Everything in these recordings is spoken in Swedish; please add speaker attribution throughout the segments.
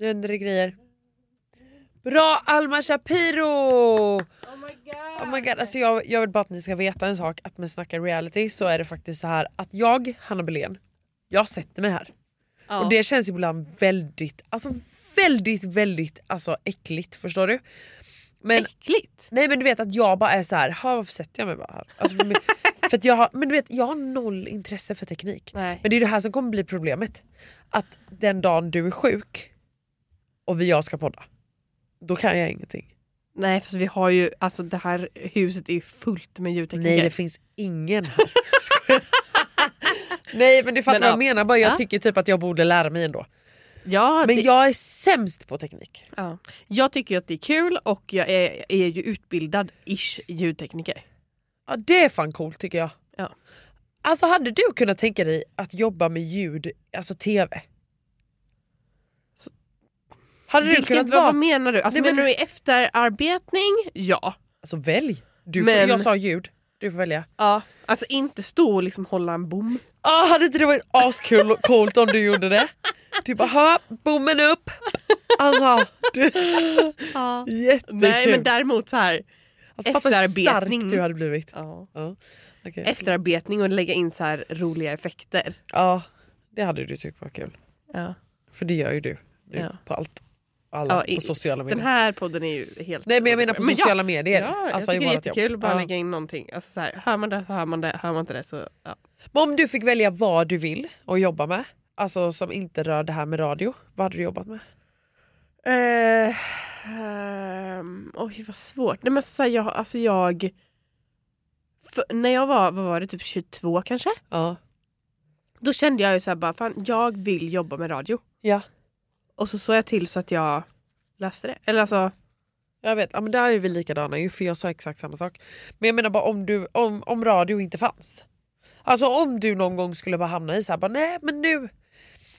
Speaker 1: händer grejer. Bra Alma Shapiro!
Speaker 2: Oh my god!
Speaker 1: Oh my God, alltså jag, jag vill bara att ni ska veta en sak, att med Snacka reality så är det faktiskt så här att jag, Hanna Belén, jag sätter mig här.
Speaker 2: Ja.
Speaker 1: Och det känns ibland väldigt, alltså väldigt, väldigt alltså äckligt förstår du? Men,
Speaker 2: Äckligt!
Speaker 1: nej men du vet att jag bara är så här, "Ha, varför sätter jag mig bara här? Alltså, för, mig- för att jag har, men du vet, jag har noll intresse för teknik.
Speaker 2: Nej.
Speaker 1: Men det är det här som kommer bli problemet. Att den dagen du är sjuk och vi och jag ska podda, då kan jag ingenting.
Speaker 2: Nej fast vi har ju, alltså det här huset är ju fullt med ljudtekniker.
Speaker 1: Nej det finns ingen här. Skojar. Nej men du fattar
Speaker 2: Men,
Speaker 1: vad
Speaker 2: ja.
Speaker 1: jag menar, bara jag
Speaker 2: Ja.
Speaker 1: tycker typ att jag borde lära mig ändå.
Speaker 2: ja,
Speaker 1: Men
Speaker 2: det,
Speaker 1: jag är sämst på teknik.
Speaker 2: ja. jag tycker ju att det är kul och jag är, är ju utbildad ish ljudtekniker.
Speaker 1: Ja det är fan coolt tycker jag.
Speaker 2: Ja.
Speaker 1: Alltså hade du kunnat tänka dig att jobba med ljud, alltså TV?
Speaker 2: Så-
Speaker 1: Hade du
Speaker 2: Vilket,
Speaker 1: kunnat
Speaker 2: vad,
Speaker 1: vara...
Speaker 2: vad menar du? Alltså,
Speaker 1: Nej, men-
Speaker 2: menar du efterarbetning? Ja.
Speaker 1: Alltså välj! Du
Speaker 2: Men-
Speaker 1: får, jag sa ljud, du får välja.
Speaker 2: ja. Alltså inte stå och liksom hålla en bom.
Speaker 1: Ah, hade inte det varit askul coolt om du gjorde det? Typ aha, bommen upp! Alltså, du, jättekul!
Speaker 2: Nej men däremot så här.
Speaker 1: Alltså, fatta hur
Speaker 2: Efterarbetning.
Speaker 1: stark du hade blivit.
Speaker 2: Ja.
Speaker 1: Okej.
Speaker 2: Efterarbetning och lägga in så här roliga effekter.
Speaker 1: ja, det hade du tyckt var kul.
Speaker 2: Ja.
Speaker 1: För det gör ju du nu
Speaker 2: Ja.
Speaker 1: på allt. Alla
Speaker 2: Ja, i-
Speaker 1: på sociala medier.
Speaker 2: Den här podden är ju helt...
Speaker 1: Nej men jag menar på
Speaker 2: Men ja,
Speaker 1: sociala medier.
Speaker 2: Ja,
Speaker 1: Alltså, i
Speaker 2: jag tycker det är
Speaker 1: vårat jobb.
Speaker 2: jättekul att bara
Speaker 1: Ja.
Speaker 2: lägga in någonting. Alltså, så här, hör man det så hör man det, hör man inte det så... Ja.
Speaker 1: Men om du fick välja vad du vill och jobba med, alltså som inte rör det här med radio, vad hade du jobbat med?
Speaker 2: Eh, ehm, oj vad svårt. Nej men så här, jag, alltså jag... För, när jag var, vad var det, typ 22 kanske?
Speaker 1: Ja.
Speaker 2: Då kände jag ju så här bara, fan jag vill jobba med radio.
Speaker 1: Ja,
Speaker 2: Och så såg jag till så att jag läste det. Eller alltså,
Speaker 1: jag vet. Ja, men där är vi likadana ju för jag sa exakt samma sak. Men jag menar bara om, du, om, om radio inte fanns. Alltså om du någon gång skulle bara hamna i så här, bara nej men nu.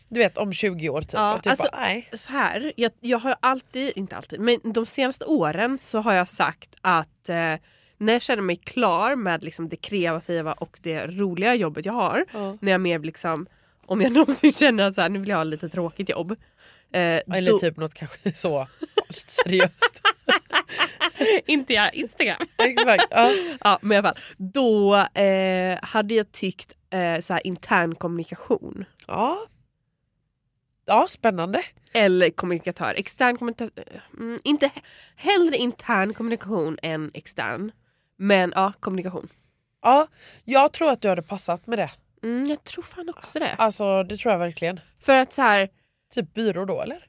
Speaker 1: Du vet om 20 år typ.
Speaker 2: Ja,
Speaker 1: och typ
Speaker 2: alltså-
Speaker 1: bara, nej.
Speaker 2: så här, jag, jag har ju alltid, inte alltid, men de senaste åren så har jag sagt att eh, när jag känner mig klar med liksom det kreativa och det roliga jobbet jag har,
Speaker 1: Ja.
Speaker 2: när jag mer liksom, om jag någonsin känner att så här, nu vill jag ha lite tråkigt jobb. Eh,
Speaker 1: Eller
Speaker 2: då,
Speaker 1: typ något kanske så lite seriöst.
Speaker 2: inte jag, Instagram.
Speaker 1: Exakt. Ja.
Speaker 2: ja, men i alla fall. Då eh, hade jag tyckt eh, så här, intern kommunikation.
Speaker 1: ja. Ja, spännande.
Speaker 2: Eller kommunikatör. Extern kommunikatör. Mm, inte, hellre intern kommunikation än extern. Men ja, kommunikation.
Speaker 1: Ja, jag tror att du hade passat med det.
Speaker 2: Mm, jag tror fan också det.
Speaker 1: Alltså det tror jag verkligen.
Speaker 2: För att så här,
Speaker 1: Typ byrå då eller?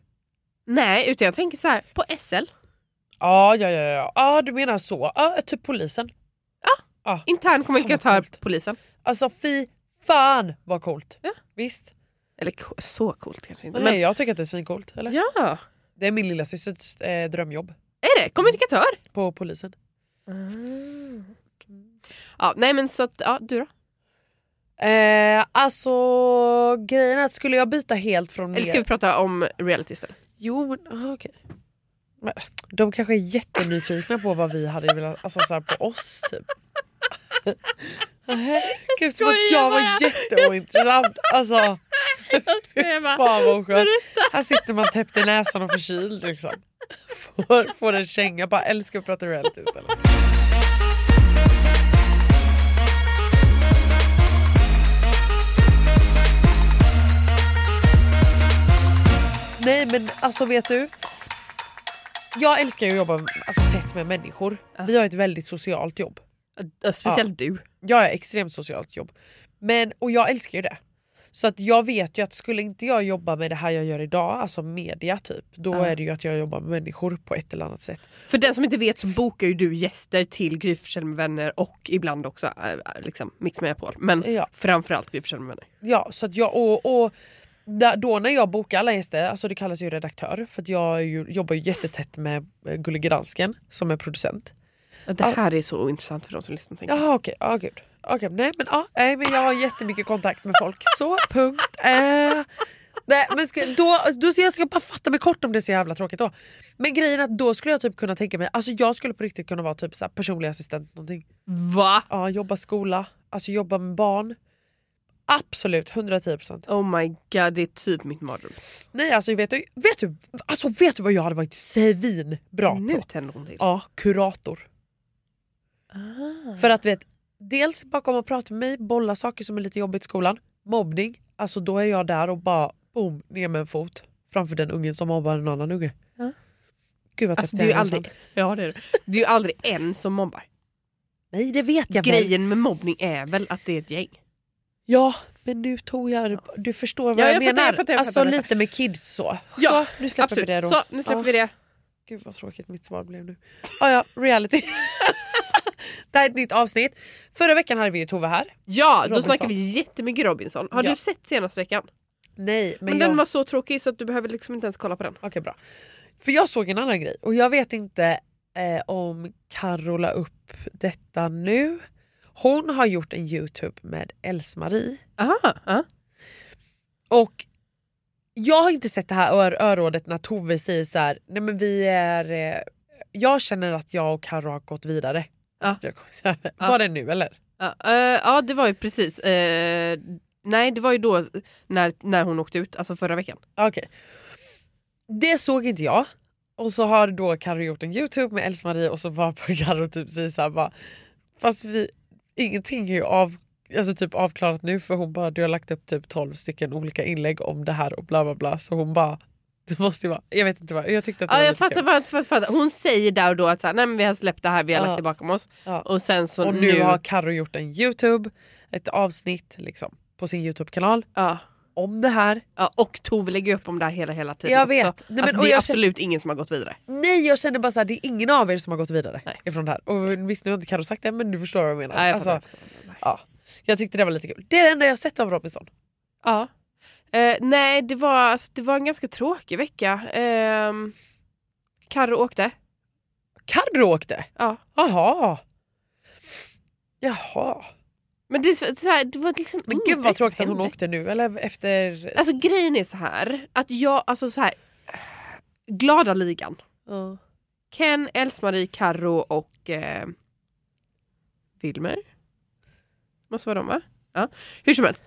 Speaker 2: nej utan jag tänker så här på SL.
Speaker 1: Ja, ja, ja, ja. ja du menar så. Ja, typ polisen.
Speaker 2: Intern kommunikatör
Speaker 1: coolt.
Speaker 2: polisen.
Speaker 1: Alltså fy fan vad coolt.
Speaker 2: Ja.
Speaker 1: Visst?
Speaker 2: Eller k- så coolt kanske inte.
Speaker 1: Nej,
Speaker 2: Men,
Speaker 1: jag tycker att det är svincoolt. Eller?
Speaker 2: ja,
Speaker 1: Det är min lilla systers eh, drömjobb
Speaker 2: är det? Kommunikatör?
Speaker 1: på polisen.
Speaker 2: Ja, nej men så att, ja du då?
Speaker 1: Eh, alltså grejen är att skulle jag byta helt från
Speaker 2: Eller ska vi prata om reality istället?
Speaker 1: Jo, men aha, okej. Men, de kanske är jättenyfikna på vad vi hade velat, alltså så här, på oss typ. Nähä. Gud, som att
Speaker 2: skojar
Speaker 1: jag var
Speaker 2: bara.
Speaker 1: jätteointressant. Alltså,
Speaker 2: Jag skojar bara.
Speaker 1: fan vad skönt. Här sitter man täppt i näsan och förkyld liksom. Får, får en känga, bara älskar att prata reality istället. Nej men alltså vet du? Jag älskar ju att jobba alltså, tätt med människor. Vi har ett väldigt socialt jobb.
Speaker 2: Ja, Speciellt du.
Speaker 1: Jag är extremt socialt jobb. Men, och jag älskar ju det. Så att jag vet ju att skulle inte jag jobba med det här jag gör idag, alltså media typ, då
Speaker 2: Ja.
Speaker 1: är det ju att jag jobbar med människor på ett eller annat sätt.
Speaker 2: För den som inte vet så bokar ju du gäster till Gry Forssell med vänner och ibland också eh, liksom, Mix Megapol. Men
Speaker 1: Ja.
Speaker 2: framförallt Gry Forssell med vänner.
Speaker 1: Ja, så att jag, och, och där- då när jag bokar alla gäster, alltså det kallas ju redaktör, för att jag är ju, jobbar ju jättetätt med eh, Gullige Dansken som är producent.
Speaker 2: Ja, Det här är så intressant för de som lyssnar. tänker jag.
Speaker 1: Jaha okej, ja gud. Okej, nej men ja, nej men jag har jättemycket kontakt med folk. Så, punkt. Eh. Nej men ska, då, alltså, då ska jag ska bara fatta mig kort om det är så jävla tråkigt då. Men grejen är att då skulle jag typ kunna tänka mig, alltså jag skulle på riktigt kunna vara typ så här personlig assistent någonting.
Speaker 2: Va?
Speaker 1: Ja, jobba skola, alltså jobba med barn. Absolut, 110 procent.
Speaker 2: Oh my god, det är typ mitt mardröm.
Speaker 1: Nej alltså vet du, vet, du, alltså vet du vad jag hade varit svinbra
Speaker 2: Nu
Speaker 1: på?
Speaker 2: tänder hon till.
Speaker 1: Ja, kurator.
Speaker 2: Ah.
Speaker 1: För att vet, dels bakom och prata med mig, bolla saker som är lite jobbigt i skolan. Mobbning, alltså då är jag där och bara boom, ner med en fot framför den ungen som mobbar en annan unge.
Speaker 2: Ja.
Speaker 1: Gud vad
Speaker 2: Alltså,
Speaker 1: täppt
Speaker 2: det är
Speaker 1: jag
Speaker 2: ju
Speaker 1: är
Speaker 2: aldrig, ja, det är det. Det är ju aldrig en som mobbar.
Speaker 1: Nej det vet jag väl.
Speaker 2: Grejen med mobbning är väl att det är ett gäng.
Speaker 1: Ja, men nu tog jag det- Du förstår vad
Speaker 2: Ja,
Speaker 1: jag,
Speaker 2: jag fattar,
Speaker 1: menar.
Speaker 2: jag fattar, jag
Speaker 1: alltså
Speaker 2: fattar.
Speaker 1: lite med kids så.
Speaker 2: Ja,
Speaker 1: så nu släpper vi det då.
Speaker 2: Så, nu släpper
Speaker 1: Ja.
Speaker 2: vi det.
Speaker 1: Gud vad tråkigt mitt svar blev nu. Ah, ja, reality. det här är ett nytt avsnitt. Förra veckan hade vi ju Tove här.
Speaker 2: Ja, då
Speaker 1: Robinson.
Speaker 2: snackar vi jättemycket Robinson. Har
Speaker 1: Ja.
Speaker 2: du sett senaste veckan?
Speaker 1: Nej, men,
Speaker 2: Men,
Speaker 1: jag...
Speaker 2: den var så tråkig så att du behöver liksom inte ens kolla på den.
Speaker 1: Okej bra. För jag såg en annan grej och jag vet inte eh, om Carro la upp detta nu. Hon har gjort en Youtube med Else-Marie
Speaker 2: Aha, ja.
Speaker 1: och jag har inte sett det här ör- örådet när Tove säger så här, nej men vi är, eh, jag känner att jag och Carro har gått vidare.
Speaker 2: Ja.
Speaker 1: Jag kommer så här, Var det nu eller?
Speaker 2: Ja, eh, ja, det var ju precis. eh, nej, det var ju då när, när hon åkte ut, alltså förra veckan.
Speaker 1: Okej. Det såg inte jag. Och så har då Carro gjort en Youtube med Else-Marie och så var på Carro typ säger såhär bara Fast vi, ingenting är ju av, alltså typ avklarat nu för hon bara du har lagt upp typ 12 stycken olika inlägg om det här och bla bla bla så hon bara det måste ju vara, jag vet inte vad, jag tyckte att det
Speaker 2: Ja,
Speaker 1: var
Speaker 2: jag
Speaker 1: lite
Speaker 2: fattar,
Speaker 1: kul.
Speaker 2: fattar, fattar, fattar. Hon säger där och då att så här, nej, men vi har släppt det här, vi har
Speaker 1: Ja.
Speaker 2: lagt det bakom oss.
Speaker 1: Ja.
Speaker 2: Och sen så
Speaker 1: Och nu, har Carro gjort en Youtube, ett avsnitt liksom på sin Youtube-kanal
Speaker 2: ja.
Speaker 1: om det här.
Speaker 2: Ja, och Tove lägger upp om det här hela, hela tiden.
Speaker 1: Jag vet.
Speaker 2: Också.
Speaker 1: Nej, men-
Speaker 2: alltså,
Speaker 1: och
Speaker 2: det är
Speaker 1: jag känner-
Speaker 2: absolut ingen som har gått vidare.
Speaker 1: Nej jag känner bara såhär, det är ingen av er som har gått vidare
Speaker 2: Nej.
Speaker 1: ifrån det här. Och visst nu har inte Carro sagt det men du förstår vad jag menar.
Speaker 2: Nej, jag
Speaker 1: Alltså,
Speaker 2: fattar, jag fattar, jag fattar.
Speaker 1: Ja. Jag tyckte det var lite kul. Det är det enda jag har sett av Robinson.
Speaker 2: Ja. Eh, nej, det var, alltså, det var en ganska tråkig vecka. Um, Karro åkte.
Speaker 1: Carro åkte?
Speaker 2: Ja.
Speaker 1: Jaha. Jaha.
Speaker 2: Men det, är så- så här, det var liksom
Speaker 1: Men
Speaker 2: inget
Speaker 1: gud vad
Speaker 2: riktigt
Speaker 1: tråkigt att
Speaker 2: hände.
Speaker 1: hon åkte nu. Eller efter...
Speaker 2: Alltså grejen är så här att jag, alltså så här. Glada ligan.
Speaker 1: Ja.
Speaker 2: Ken, Else-Marie, Karro och eh, Wilmer. Måste vara de va? Ja. Hur som helst.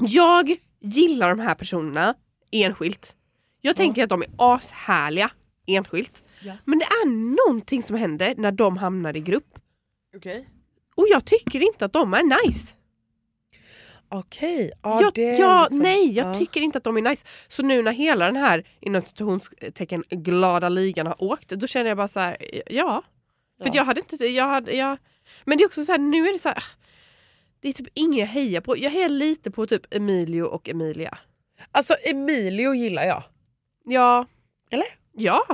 Speaker 2: Jag gillar de här personerna enskilt. Jag tänker att de är ashärliga enskilt.
Speaker 1: Ja.
Speaker 2: Men det är någonting som händer när de hamnar i grupp.
Speaker 1: Okej.
Speaker 2: Och jag tycker inte att de är nice.
Speaker 1: Okej.
Speaker 2: jag,
Speaker 1: det är
Speaker 2: ja,
Speaker 1: liksom-
Speaker 2: nej, jag
Speaker 1: ja.
Speaker 2: tycker inte att de är nice. Så nu när hela den här inom citationstecken glada ligan har åkt, då känner jag bara så här, ja. För
Speaker 1: Ja.
Speaker 2: att jag hade inte, jag hade, jag, men det är också så här, nu är det så här, ah, det är typ ingen jag hejar på. Jag hejar lite på typ Emilio och Emilia.
Speaker 1: Alltså Emilio gillar jag.
Speaker 2: Ja.
Speaker 1: Eller?
Speaker 2: Ja,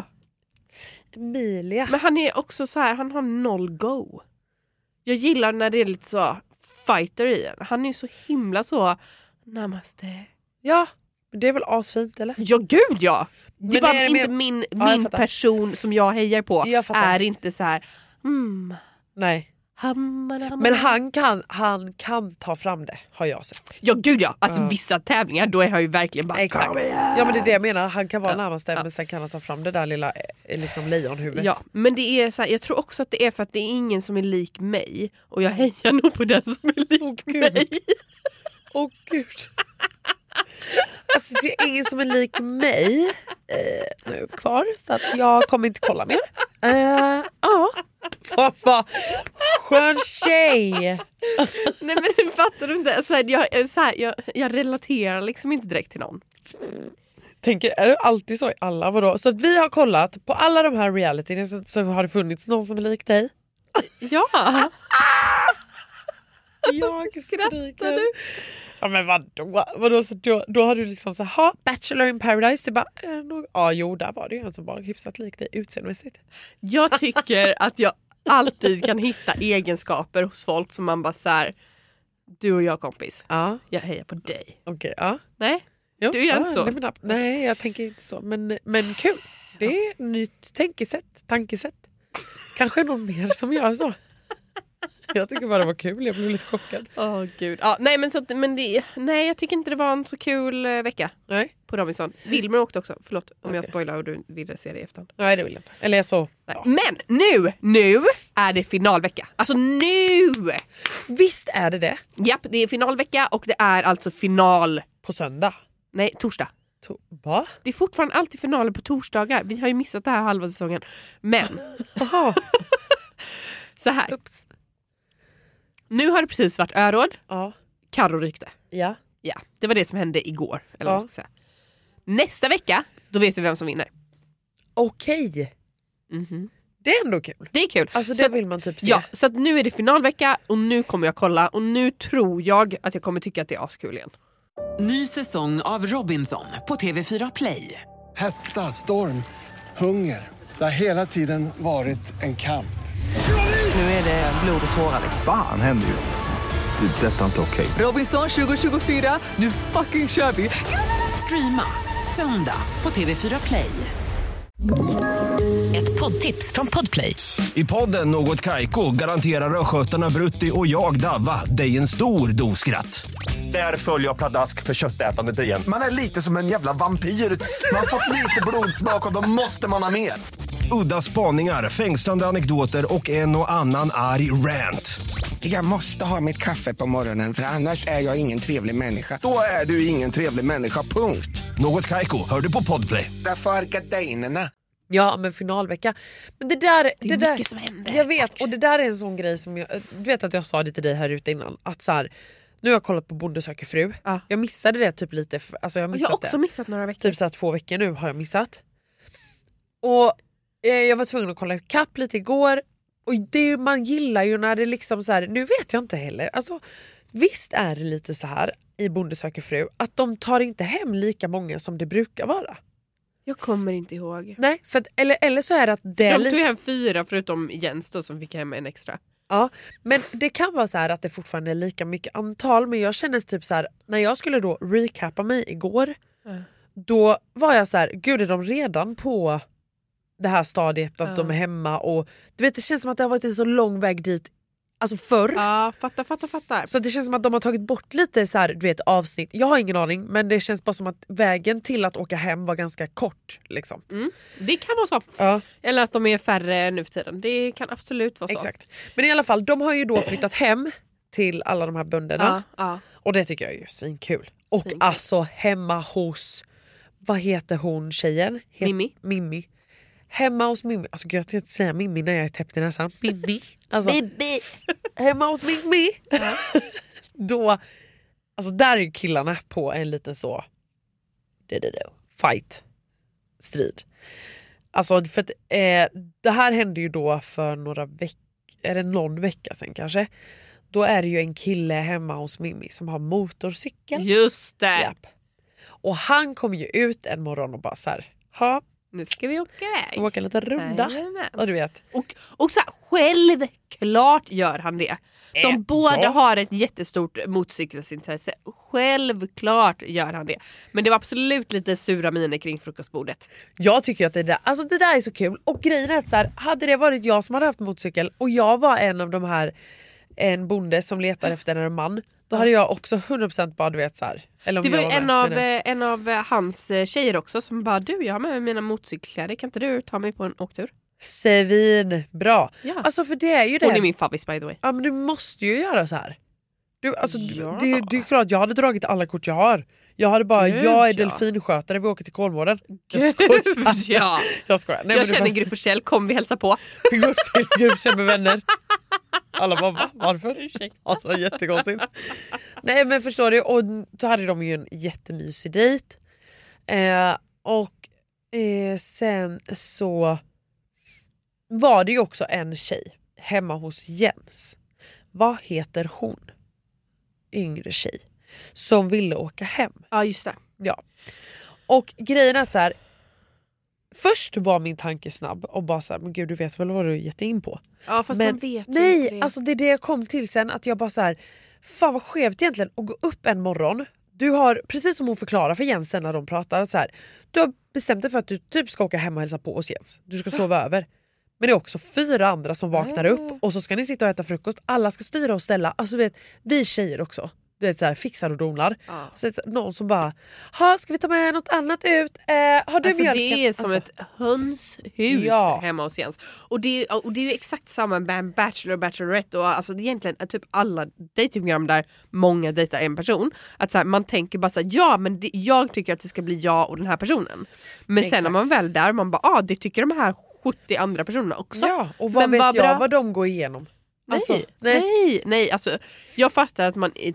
Speaker 1: Emilia.
Speaker 2: men han är också så här, han har noll go. Jag gillar när det är lite så fighter i en. Han är ju så himla så, namaste.
Speaker 1: Ja. men Det är väl asfint eller?
Speaker 2: Ja gud ja! Det
Speaker 1: Men
Speaker 2: är bara
Speaker 1: är det
Speaker 2: inte
Speaker 1: mer-
Speaker 2: min,
Speaker 1: jag
Speaker 2: min
Speaker 1: fattar.
Speaker 2: person som jag hejar på
Speaker 1: Jag fattar.
Speaker 2: är inte så här. Mm,
Speaker 1: Nej.
Speaker 2: hammar, hammar.
Speaker 1: Men han kan, han kan ta fram det har jag sett.
Speaker 2: Ja gud ja! Alltså
Speaker 1: Ja.
Speaker 2: vissa tävlingar då är han ju verkligen bara
Speaker 1: Exakt.
Speaker 2: "Kom igen!"
Speaker 1: Ja men det är det jag menar. Han kan vara
Speaker 2: Ja.
Speaker 1: närmast
Speaker 2: Ja.
Speaker 1: men sen kan han ta fram det där lilla eh, liksom, lejonhuvudet.
Speaker 2: Ja, men det är så här, jag tror också att det är för att det är ingen som är lik mig och jag hejar nog på den som är lik
Speaker 1: Åh Oh,
Speaker 2: mig.
Speaker 1: gud. Åh gud. Alltså det är ingen som är lik mig eh, nu kvar så att jag kommer inte kolla mer. Eh, Ja. Pappa, skön tjej.
Speaker 2: Nej men fattar du inte? Så här, jag, så här, jag, jag relaterar liksom inte direkt till någon.
Speaker 1: Tänker, är det alltid så i alla? Vadå? Så att vi har kollat på alla de här realityn så- så har det funnits någon som är lik dig.
Speaker 2: Ja!
Speaker 1: Jag
Speaker 2: Skrattar
Speaker 1: skriker.
Speaker 2: du?
Speaker 1: Ja men vadå? vadå så då, då har du liksom så här, "Ha, Bachelor in paradise. Du bara, eh, nog, ja jo där var det ju en som var hyfsat lik dig utseendemässigt.
Speaker 2: Jag tycker att jag alltid kan hitta egenskaper hos folk som man bara såhär, du och jag kompis,
Speaker 1: Ja.
Speaker 2: jag hejar på dig.
Speaker 1: Okej, ja.
Speaker 2: Nej?
Speaker 1: Jo,
Speaker 2: Du gör inte så?
Speaker 1: nej, men ab- nej, jag tänker inte så. Men, men kul. Det är ett nytt tänkesätt, tankesätt. Kanske någon mer som gör så. Jag tycker bara det var kul, jag blev lite chockad.
Speaker 2: Åh gud. Ja, nej, men så att, men det, nej, jag tycker inte det var en så kul eh, vecka
Speaker 1: Nej,
Speaker 2: på Robinson. Wilmer åkte också. Förlåt om jag
Speaker 1: Okej.
Speaker 2: spoilar och du ville se det i efterhand.
Speaker 1: Nej det vill jag inte. Eller jag så.
Speaker 2: Nej.
Speaker 1: Ja.
Speaker 2: Men nu, nu är det finalvecka. Alltså nu!
Speaker 1: Visst är det det?
Speaker 2: Japp, det är finalvecka och det är alltså final...
Speaker 1: På söndag.
Speaker 2: Nej, torsdag.
Speaker 1: To- Va?
Speaker 2: Det är fortfarande alltid finaler på torsdagar. Vi har ju missat det här halva säsongen. Men
Speaker 1: Jaha.
Speaker 2: så här. Nu har det precis varit öråd.
Speaker 1: ja.
Speaker 2: Carro rykte.
Speaker 1: Ja.
Speaker 2: Ja, det var det som hände igår. Eller vad
Speaker 1: Ja.
Speaker 2: man ska säga. Nästa vecka, då vet vi vem som vinner.
Speaker 1: Okej. Det är ändå kul.
Speaker 2: Mhm. Det är kul.
Speaker 1: Alltså
Speaker 2: så,
Speaker 1: det
Speaker 2: att,
Speaker 1: vill man typ se.
Speaker 2: ja, så att nu är det finalvecka och nu kommer jag kolla och nu tror jag att jag kommer tycka att det är askul igen.
Speaker 3: Ny säsong av Robinson på TV4 Play.
Speaker 4: Hetta, storm, hunger. Det har hela tiden varit en kamp.
Speaker 3: Nu är det blod och tårar.
Speaker 5: Fan händer just nu. Det. är Detta är inte okej.
Speaker 3: Robinson 2024, nu fucking kör vi! Streama söndag på TV4 Play.
Speaker 6: Ett poddtips från Podplay.
Speaker 7: I podden Något Kaiko garanterar östgötarna Brutti och jag, Davva, dig en stor dos skratt. Där följer jag pladask för köttätandet igen.
Speaker 8: Man är lite som en jävla vampyr. Man har fått lite blodsmak och då måste man ha mer.
Speaker 7: Udda spaningar, fängslande anekdoter och en och annan arg rant.
Speaker 8: Jag måste ha mitt kaffe på morgonen för annars är jag ingen trevlig människa. Då är du ingen trevlig människa, punkt.
Speaker 7: Något Kaiko, hör du på Podplay.
Speaker 8: Därför arkadeinerna.
Speaker 1: Ja men finalvecka. Men det där... Det,
Speaker 2: Det är
Speaker 1: där,
Speaker 2: mycket som händer.
Speaker 1: Jag vet och det där är en sån grej som jag... Du vet att jag sa det till dig här ute innan. Att så här, nu har jag kollat på Bonde söker fru.
Speaker 2: Ja.
Speaker 1: Jag missade det typ lite. för- Alltså jag har
Speaker 2: Jag
Speaker 1: missat
Speaker 2: har också
Speaker 1: det.
Speaker 2: missat några veckor.
Speaker 1: Typ så här två veckor nu har jag missat. Och eh, jag var tvungen att kolla ikapp lite igår. Och det, man gillar ju när det liksom så här, nu vet jag inte heller. Alltså, visst är det lite så här i Bonde söker fru att de tar inte hem lika många som det brukar vara.
Speaker 2: Jag kommer inte ihåg.
Speaker 1: Nej, för att, eller, eller så är det att det är
Speaker 2: De tog
Speaker 1: lite,
Speaker 2: hem fyra förutom Jens då som fick hem en extra.
Speaker 1: ja, Men det kan vara så här att det fortfarande är lika mycket antal men jag känner typ så här när jag skulle då recappa mig igår
Speaker 2: Mm.
Speaker 1: då var jag så här, gud är de redan på det här stadiet att de
Speaker 2: Mm.
Speaker 1: är hemma och du vet det känns som att det har varit en så lång väg dit alltså förr.
Speaker 2: Ja, fatta, fatta, fatta.
Speaker 1: Så det känns som att de har tagit bort lite så här, du vet, avsnitt. Jag har ingen aning men det känns bara som att vägen till att åka hem var ganska kort. Liksom.
Speaker 2: Mm. Det kan vara så.
Speaker 1: Ja.
Speaker 2: Eller att de är färre nu för tiden. Det kan absolut vara så.
Speaker 1: Exakt. Men i alla fall, de har ju då flyttat hem till alla de här bönderna.
Speaker 2: Ja, ja.
Speaker 1: Och det tycker jag är ju svinkul. Och
Speaker 2: Svinkul.
Speaker 1: alltså hemma hos, vad heter hon tjejen? Het-
Speaker 2: Mimmi.
Speaker 1: Mimmi. Hemma hos Mimmi, alltså gud, jag kan inte säga Mimmi när jag är täppt i näsan. Mimmi. Alltså, hemma hos Mimmi. Då, alltså där är ju killarna på en liten så, du, du, du, fight, strid. Alltså för att eh, det här hände ju då för några veckor, är det någon vecka sen kanske. Då är det ju en kille hemma hos Mimmi som har motorcykel.
Speaker 2: Just det!
Speaker 1: Japp. Och han kom ju ut en morgon och bara så här, ha,
Speaker 2: Nu ska vi åka iväg.
Speaker 1: åka lite runda.
Speaker 2: Jajamän.
Speaker 1: Och du vet,
Speaker 2: Och, och så här, självklart gör han det. De
Speaker 1: Eh,
Speaker 2: båda
Speaker 1: ja.
Speaker 2: har ett jättestort motorcykelsintresse. Självklart gör han det. Men det var absolut lite sura miner kring frukostbordet.
Speaker 1: jag tycker ju att det där, alltså det där är så kul. Och grejen är att så här, hade det varit jag som hade haft motorcykel och jag var en av de här, en bonde som letar efter en man. Då hade jag också 100% bara du vet så här. Eller om
Speaker 2: Det var ju
Speaker 1: jag
Speaker 2: en
Speaker 1: med,
Speaker 2: av,
Speaker 1: menar jag.
Speaker 2: eh, en av eh, hans eh, tjejer också som bara du jag har med mig mina motorcykelkläder kan inte du ta mig på en åktur?
Speaker 1: Svin bra.
Speaker 2: Ja.
Speaker 1: Alltså för det är ju det.
Speaker 2: Hon är min favvis by the way.
Speaker 1: Ja men du måste ju göra så här. Du, alltså, du-
Speaker 2: Ja.
Speaker 1: det, är ju- det är ju klart jag hade dragit alla kort jag har. Jag hade bara,
Speaker 2: Gud,
Speaker 1: jag är
Speaker 2: ja.
Speaker 1: delfinskötare, vi åker till Kolmården. Jag skojar.
Speaker 2: Gud, ja.
Speaker 1: Jag skojar. Nej,
Speaker 2: Jag
Speaker 1: men
Speaker 2: känner
Speaker 1: du
Speaker 2: Gry Forssell, kom vi hälsa på.
Speaker 1: får gå upp till gruppkänd med vänner. Alla bara va? Varför? Alltså jättekonstigt. Nej men förstår du, och så hade de ju en jättemysig dejt. Eh, och eh, sen så var det ju också en tjej hemma hos Jens. Vad heter hon? Yngre tjej. Som ville åka hem.
Speaker 2: Ja just det.
Speaker 1: Ja. Och grejen är att så här. Först var min tanke snabb och bara så här, men gud du vet väl vad du gett dig in på?
Speaker 2: Ja fast
Speaker 1: Men-
Speaker 2: man vet ju inte
Speaker 1: Nej,
Speaker 2: det.
Speaker 1: alltså det är det jag kom till sen att jag bara så här, fan vad skevt egentligen att gå upp en morgon. Du har, precis som hon förklarar för Jens sen när
Speaker 2: Ah.
Speaker 1: de pratar, att så här, du har bestämt dig för att du typ ska åka hem och hälsa på hos Jens. Du ska sova över. Men det är också fyra andra som vaknar upp och så ska ni sitta och äta frukost. Alla ska styra och ställa. Alltså, du vet, vi tjejer också. Du vet, så här, fixar och donar.
Speaker 2: Ja.
Speaker 1: Så är det någon som bara, "Ha, ska vi ta med något annat ut? Eh, har du
Speaker 2: Alltså,
Speaker 1: mjölken?
Speaker 2: det är som
Speaker 1: Alltså,
Speaker 2: ett hönshus
Speaker 1: Ja.
Speaker 2: hemma hos Jens. Och det, är, och det är ju exakt samma med Bachelor och Bachelorette och alltså, det är egentligen att typ alla dejtingprogram där många dejtar en person. Att så här, man tänker bara så här, ja men det, jag tycker att det ska bli jag och den här personen. Men sen när
Speaker 1: Exakt.
Speaker 2: man väl är där, man bara ah, det tycker de här 70 andra personerna också.
Speaker 1: Ja, och vad
Speaker 2: Men
Speaker 1: vet
Speaker 2: Barbara-
Speaker 1: jag vad de går igenom?
Speaker 2: Nej,
Speaker 1: Alltså,
Speaker 2: nej,
Speaker 1: nej.
Speaker 2: nej, alltså, jag fattar att man i,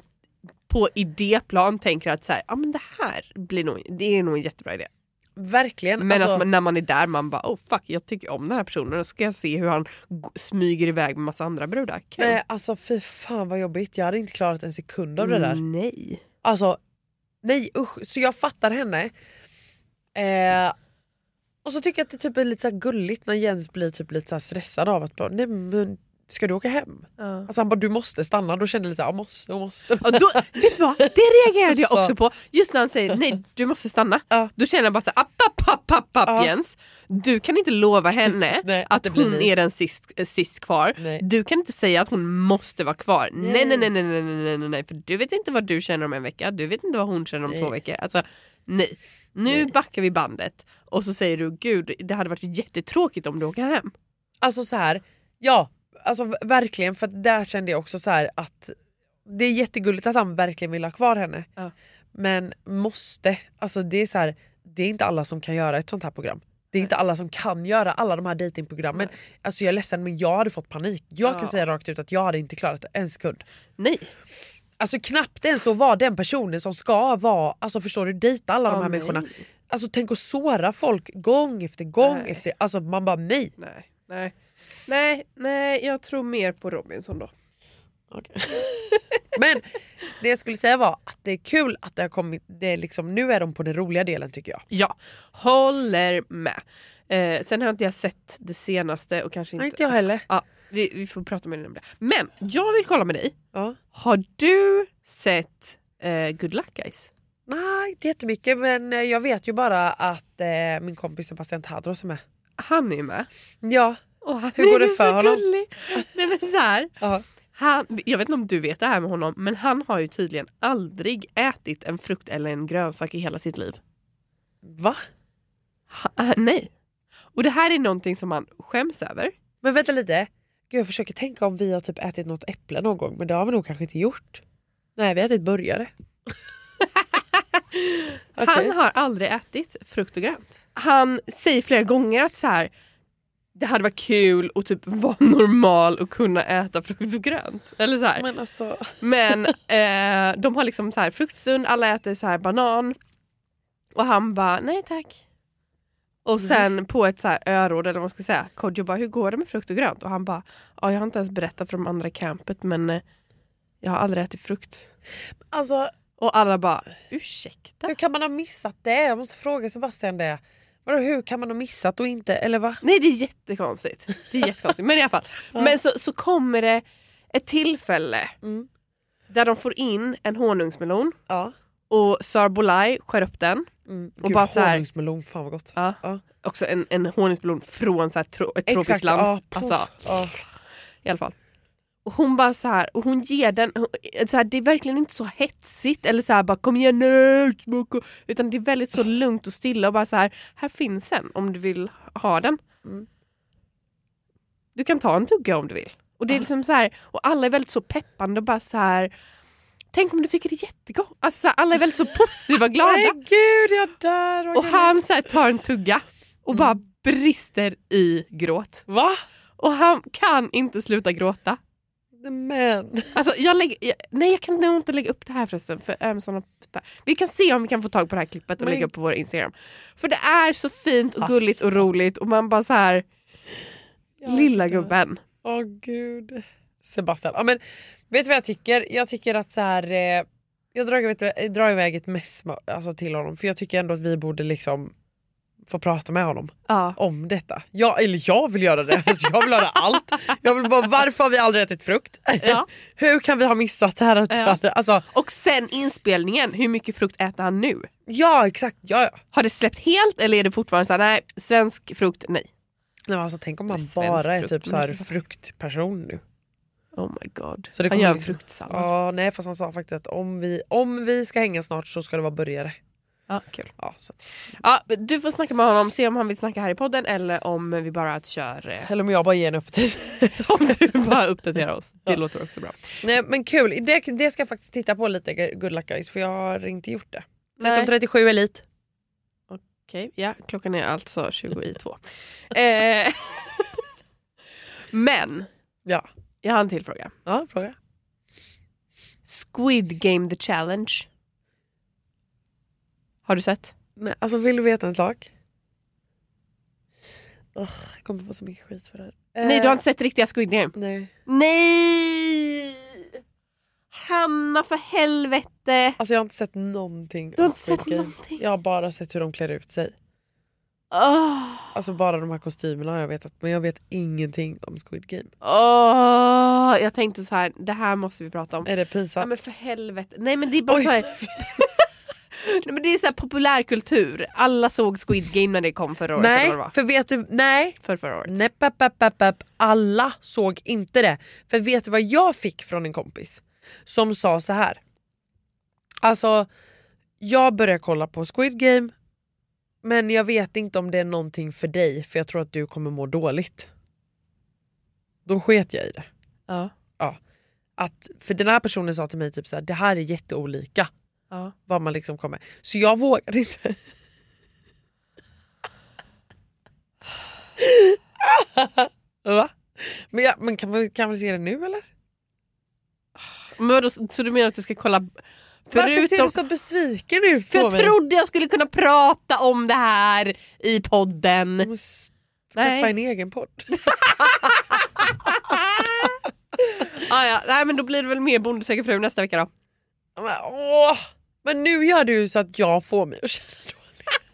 Speaker 2: på idéplan tänker att så här, ah, men det här blir nog, det är nog en jättebra idé.
Speaker 1: Verkligen.
Speaker 2: Men
Speaker 1: alltså,
Speaker 2: att man, när man är där man bara oh fuck jag tycker om den här personen och ska jag se hur han g- smyger iväg med massa andra brudar. Kul.
Speaker 1: nej, alltså fy fan vad jobbigt. Jag hade inte klarat en sekund av det där.
Speaker 2: Mm. Nej.
Speaker 1: Alltså, nej usch. Så jag fattar henne. Eh, och så tycker jag att det typ är lite så här gulligt när Jens blir typ lite så här stressad av att bara, nej, men, ska du åka hem? Alltså han bara du måste stanna. Då kände jag lite såhär, måste, måste.
Speaker 2: Och då, vet du vad? Det reagerade jag
Speaker 1: Så.
Speaker 2: också på. Just när han säger nej du måste stanna.
Speaker 1: Alltså. Ja.
Speaker 2: Då känner jag bara såhär app, app, app, app, app
Speaker 1: Ja.
Speaker 2: Jens. Du kan inte lova henne
Speaker 1: Nej,
Speaker 2: att
Speaker 1: det blir
Speaker 2: hon
Speaker 1: vi.
Speaker 2: är den sist, eh, sist kvar.
Speaker 1: Nej.
Speaker 2: Du kan inte säga att hon måste vara kvar. Nej
Speaker 1: Nej.
Speaker 2: nej nej nej nej nej nej, nej nej för du vet inte vad du känner om en vecka. Du vet inte vad hon känner om två
Speaker 1: Nej.
Speaker 2: veckor. Alltså nej. Nu backar vi bandet och så säger du gud det hade varit jättetråkigt om du åker hem.
Speaker 1: Alltså så här, ja, alltså v- verkligen för att där kände jag också så här att det är jättegulligt att han verkligen vill ha kvar henne.
Speaker 2: Ja.
Speaker 1: Men måste, alltså det är så här, det är inte alla som kan göra ett sånt här program. Det är inte alla som kan göra alla de här dejtingprogrammen. Alltså jag är ledsen men jag hade fått panik. Jag
Speaker 2: Ja.
Speaker 1: kan säga rakt ut att jag hade inte klarat det en sekund.
Speaker 2: Nej.
Speaker 1: Alltså knappt ens att vara den personen som ska vara, alltså förstår du, dejta alla
Speaker 2: Ja,
Speaker 1: de här
Speaker 2: nej.
Speaker 1: människorna. Alltså tänk att såra folk gång efter gång
Speaker 2: Nej.
Speaker 1: efter, alltså man bara nej.
Speaker 2: Nej, nej. Nej, nej, jag tror mer på Robinson då.
Speaker 1: Men det jag skulle säga var att det är kul att det har kommit, det är liksom, nu är de på den roliga delen tycker jag.
Speaker 2: Ja, håller med. Eh, sen har inte jag sett det senaste och kanske inte...
Speaker 1: jag heller.
Speaker 2: Ja, vi, vi får prata mer om det. Men jag vill kolla med dig.
Speaker 1: Ja.
Speaker 2: Har du sett eh, Good Luck Guys?
Speaker 1: Nej, inte jättemycket men eh, jag vet ju bara att eh, min kompis Sebastian Tadros är med.
Speaker 2: Han är ju med.
Speaker 1: Ja,
Speaker 2: Och han
Speaker 1: Hur går det
Speaker 2: är
Speaker 1: för
Speaker 2: så
Speaker 1: honom?
Speaker 2: Gullig. Nej, men så här.
Speaker 1: Ja.
Speaker 2: Han, jag vet inte om du vet det här med honom, men han har ju tydligen aldrig ätit en frukt eller en grönsak i hela sitt liv.
Speaker 1: va?
Speaker 2: Ha, ah, nej. Och det här är någonting som han skäms över.
Speaker 1: Men vänta lite. Gud, jag försöker tänka om vi har typ ätit något äpple någon gång men det har vi nog kanske inte gjort. Nej, vi har ätit burgare. Okej.
Speaker 2: Han har aldrig ätit frukt och grönt. Han säger flera gånger att så här, det hade varit kul att typ vara normal och kunna äta frukt och grönt. Eller så här.
Speaker 1: Men alltså...
Speaker 2: Men eh, de har liksom så här fruktstund, alla äter så här banan. Och han bara, nej tack. Och sen på ett så här öråd eller vad man ska säga, Kodjo bara, hur går det med frukt och grönt? Och han bara, ja jag har inte ens berättat för de andra i campet men eh, jag har aldrig ätit frukt.
Speaker 1: alltså
Speaker 2: Och alla bara, ursäkta?
Speaker 1: hur kan man ha missat det? Jag måste fråga Sebastian det. Vadå, hur kan man ha missat och inte, eller va?
Speaker 2: Nej det är jättekonstigt. Det är jättekonstigt. Men i alla fall. Men så, så kommer det ett tillfälle
Speaker 1: Mm.
Speaker 2: där de får in en honungsmelon
Speaker 1: Ja.
Speaker 2: och Sar Bolaj skär upp den. Och bara Mm. så här-
Speaker 1: honungsmelon, fan vad gott.
Speaker 2: Ja.
Speaker 1: Ja.
Speaker 2: Också en, en honungsmelon från så här tro, ett tropiskt
Speaker 1: Exakt,
Speaker 2: land.
Speaker 1: ja, puh.
Speaker 2: alltså,
Speaker 1: Ja.
Speaker 2: i alla fall. Och hon bara så här, och hon ger den, hon- så här, det är verkligen inte så hetsigt eller så här bara kom igen nu, smaka." utan det är väldigt så lugnt och stilla och bara så här, här finns den om du vill ha den.
Speaker 1: Mm.
Speaker 2: Du kan ta en tugga om du vill. Och det är liksom så här, och alla är väldigt så peppande och bara så här, tänk om du tycker det är jättegott. Alltså så här, alla är väldigt så positiva och glada.
Speaker 1: Nej gud, jag dör! vad
Speaker 2: Och
Speaker 1: gulligt.
Speaker 2: han så här, tar en tugga och bara
Speaker 1: Mm.
Speaker 2: brister i gråt.
Speaker 1: Va?
Speaker 2: Och han kan inte sluta gråta.
Speaker 1: Men.
Speaker 2: Alltså, jag lägger, jag, nej jag kan nog inte lägga upp det här förresten. För Amazon har, vi kan se om vi kan få tag på det här klippet och
Speaker 1: Men-
Speaker 2: lägga upp på vår Instagram. För det är så fint och gulligt och roligt och man bara så här, lilla gubben.
Speaker 1: Åh gud. Sebastian. Ja, men, vet du vad jag tycker? Jag tycker att så här, eh, jag drar, vet, du, jag drar iväg ett mess ma- alltså, till honom för jag tycker ändå att vi borde liksom få prata med honom
Speaker 2: Ja.
Speaker 1: om detta. Jag, eller jag vill göra det. Alltså, jag vill höra allt. Jag vill bara, varför har vi aldrig ätit frukt?
Speaker 2: Ja.
Speaker 1: Hur kan vi ha missat det här? Att
Speaker 2: Ja.
Speaker 1: ja. Alltså,
Speaker 2: Och sen inspelningen, hur mycket frukt äter han nu?
Speaker 1: ja exakt, ja, ja.
Speaker 2: Har det släppt helt eller är det fortfarande så här, nej svensk frukt, nej.
Speaker 1: Nej, men alltså, tänk om man
Speaker 2: Eller svensk
Speaker 1: bara är
Speaker 2: frukt,
Speaker 1: typ så
Speaker 2: men
Speaker 1: här
Speaker 2: så-
Speaker 1: fruktperson nu.
Speaker 2: Oh my god.
Speaker 1: Så det
Speaker 2: Han
Speaker 1: kommer
Speaker 2: gör
Speaker 1: liksom-
Speaker 2: fruktsallad. Ja.
Speaker 1: Ja, nej fast han sa faktiskt att om vi, om vi ska hänga snart så ska det vara burgare.
Speaker 2: kul.
Speaker 1: Ja, så.
Speaker 2: Ja, men du får snacka med honom, se om han vill snacka här i podden eller om vi bara att kör... Eh,
Speaker 1: Eller om jag bara ger en öppetit.
Speaker 2: om du bara uppdaterar oss. Det låter också bra.
Speaker 1: nej men kul, det, det ska jag faktiskt titta på lite good luck guys för jag har inte gjort det.
Speaker 2: Nej.
Speaker 1: 13.37 Elit.
Speaker 2: Okej, ja. Klockan är alltså 20 i två. Eh, men,
Speaker 1: Ja.
Speaker 2: jag har en till fråga.
Speaker 1: Ja, fråga.
Speaker 2: Squid Game The Challenge. Har du sett?
Speaker 1: Nej, alltså vill du veta en sak? Ugh, jag kommer få så mycket skit för det här.
Speaker 2: Nej,
Speaker 1: Eh,
Speaker 2: du har inte sett riktiga Squid Game?
Speaker 1: Nej.
Speaker 2: Nej! Hanna, för helvete!
Speaker 1: Alltså jag har inte sett någonting.
Speaker 2: Du har
Speaker 1: av
Speaker 2: inte sett
Speaker 1: Squid Game.
Speaker 2: någonting.
Speaker 1: Jag har bara sett hur de klär ut sig.
Speaker 2: Åh,
Speaker 1: Alltså bara de här kostymerna har jag vetat. Men jag vet ingenting om Squid Game.
Speaker 2: åh, Jag tänkte så här, det här måste vi prata om.
Speaker 1: Är det
Speaker 2: Ja,
Speaker 1: pinsamt?
Speaker 2: men för helvete. Nej men det är bara
Speaker 1: Oj.
Speaker 2: så här. Nej, men det är så här populärkultur. Alla såg Squid Game när det kom förra året. eller
Speaker 1: nej,
Speaker 2: vad det var.
Speaker 1: för vet du, nej.
Speaker 2: För förra året.
Speaker 1: Nej, pep, pep, pep, pep. Alla såg inte det. För vet du vad jag fick från en kompis? Som sa så här. Alltså, jag börjar kolla på Squid Game. Men jag vet inte om det är någonting för dig för jag tror att du kommer må dåligt. Då sket jag i det.
Speaker 2: Ja,
Speaker 1: Att, för den här personen sa till mig typ så här, det här är jätteolika.
Speaker 2: ja.
Speaker 1: vad man liksom kommer. Så jag vågade inte. Va? Men, jag, men kan, man, kan man se det nu eller?
Speaker 2: Men vadå, så du menar att du ska kolla
Speaker 1: Varför ser
Speaker 2: förutom...
Speaker 1: du så besviken ut
Speaker 2: För
Speaker 1: på
Speaker 2: jag
Speaker 1: mig?
Speaker 2: trodde jag skulle kunna prata om det här i podden.
Speaker 1: Jag måste
Speaker 2: Nej.
Speaker 1: Skaffa en egen podd.
Speaker 2: Ah, ja. Nej men då blir det väl mer Bonde söker fru nästa vecka då.
Speaker 1: Men, åh. men nu gör du ju så att jag får mig att känna dåligt.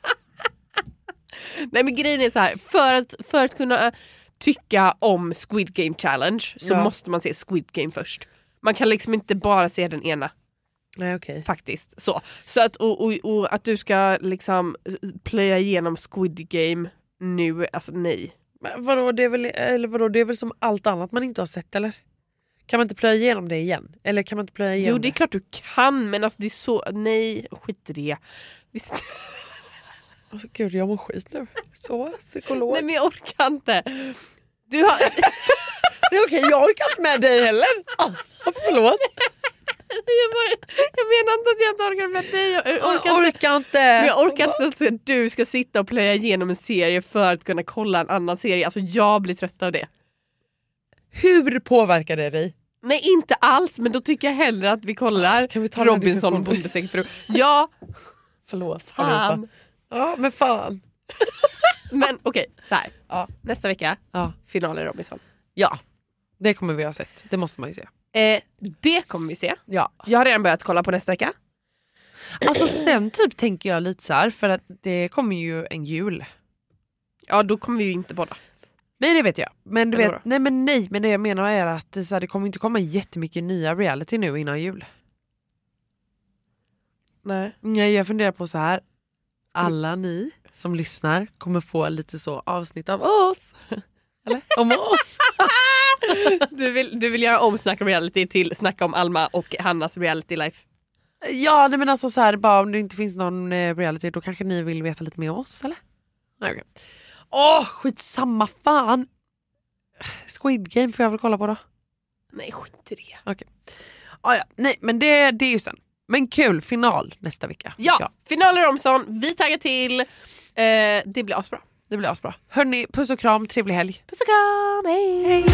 Speaker 2: Nej men grejen är så här. för att, för att kunna eh, tycka om Squid Game Challenge så
Speaker 1: Ja.
Speaker 2: måste man se Squid Game först. Man kan liksom inte bara se den ena.
Speaker 1: Nej okej.
Speaker 2: faktiskt. Så, så att, och, och, och att du ska liksom plöja igenom Squid Game nu, alltså nej.
Speaker 1: Men Vadå, det är väl, eller vadå, det är väl som allt annat man inte har sett eller? Kan man inte plöja igenom det igen? Eller kan man inte plöja igenom
Speaker 2: Jo det är klart du kan men alltså det är så, nej skit i det. Visst,
Speaker 1: Alltså, gud jag mår skit nu. Så, psykolog.
Speaker 2: nej men jag orkar inte. Du har,
Speaker 1: Det är okej, jag orkar inte med dig heller. Alltså, förlåt.
Speaker 2: jag, bara, jag menar inte att jag inte orkar med dig, jag orkar
Speaker 1: Jag
Speaker 2: inte.
Speaker 1: orkar
Speaker 2: Men
Speaker 1: inte.
Speaker 2: jag orkar inte att du ska sitta och plöja igenom en serie för att kunna kolla en annan serie, alltså jag blir trött av det.
Speaker 1: Hur påverkar det dig?
Speaker 2: Nej inte alls men då tycker jag hellre att vi kollar
Speaker 1: Kan vi ta den här
Speaker 2: Robinson och
Speaker 1: diskussionen?
Speaker 2: Bonde söker fru. Ja,
Speaker 1: Förlåt
Speaker 2: fan.
Speaker 1: allihopa. Ja men fan.
Speaker 2: Men okej, så här.
Speaker 1: Ja.
Speaker 2: Nästa vecka,
Speaker 1: Ja.
Speaker 2: final i Robinson.
Speaker 1: ja, det kommer vi ha sett. Det måste man ju se.
Speaker 2: Eh, det kommer vi se.
Speaker 1: Ja.
Speaker 2: Jag har redan börjat kolla på nästa vecka.
Speaker 1: Alltså sen typ tänker jag lite så här för att det kommer ju en jul.
Speaker 2: Ja, då kommer vi ju inte båda.
Speaker 1: Nej det vet jag. Men, du
Speaker 2: Eller
Speaker 1: vet,
Speaker 2: vadå?
Speaker 1: nej, men, nej, men det jag menar är att det, så här, det kommer inte komma jättemycket nya reality nu innan jul.
Speaker 2: Nej.
Speaker 1: Nej, jag funderar på så här. Alla ni som lyssnar kommer få lite så avsnitt av oss. Eller? Om oss.
Speaker 2: Du vill, du vill göra om Snacka reality till Snacka om Alma och Hannas reality life.
Speaker 1: Ja, nej, men alltså så här, bara om det inte finns någon eh, reality då kanske ni vill veta lite mer om oss eller? Nej, okej. Åh, skitsamma fan! Squid Game får jag väl kolla på då.
Speaker 2: Nej, skit i det.
Speaker 1: Ah, ja. Nej, men det, det är ju sen. Men kul, final nästa vecka.
Speaker 2: Ja, final i Robinson. Vi taggar till. Eh, det blir asbra.
Speaker 1: Det blir asbra. Hörni, puss och kram, trevlig helg.
Speaker 2: Puss och kram, hej!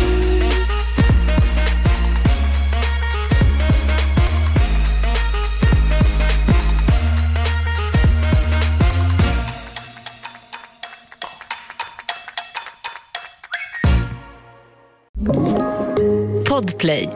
Speaker 6: Podplay.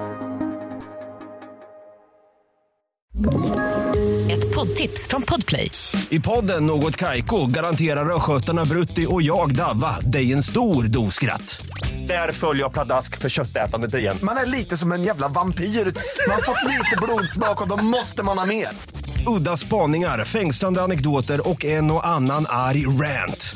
Speaker 6: Ett poddtips från Podplay.
Speaker 7: I podden Något Kaiko garanterar östgötarna Brutti och jag, Davva, dig en stor dos skratt. Där följer jag pladask för köttätandet igen.
Speaker 8: Man är lite som en jävla vampyr. Man har fått lite blodsmak och då måste man ha mer.
Speaker 7: Udda spaningar, fängslande anekdoter och en och annan arg rant.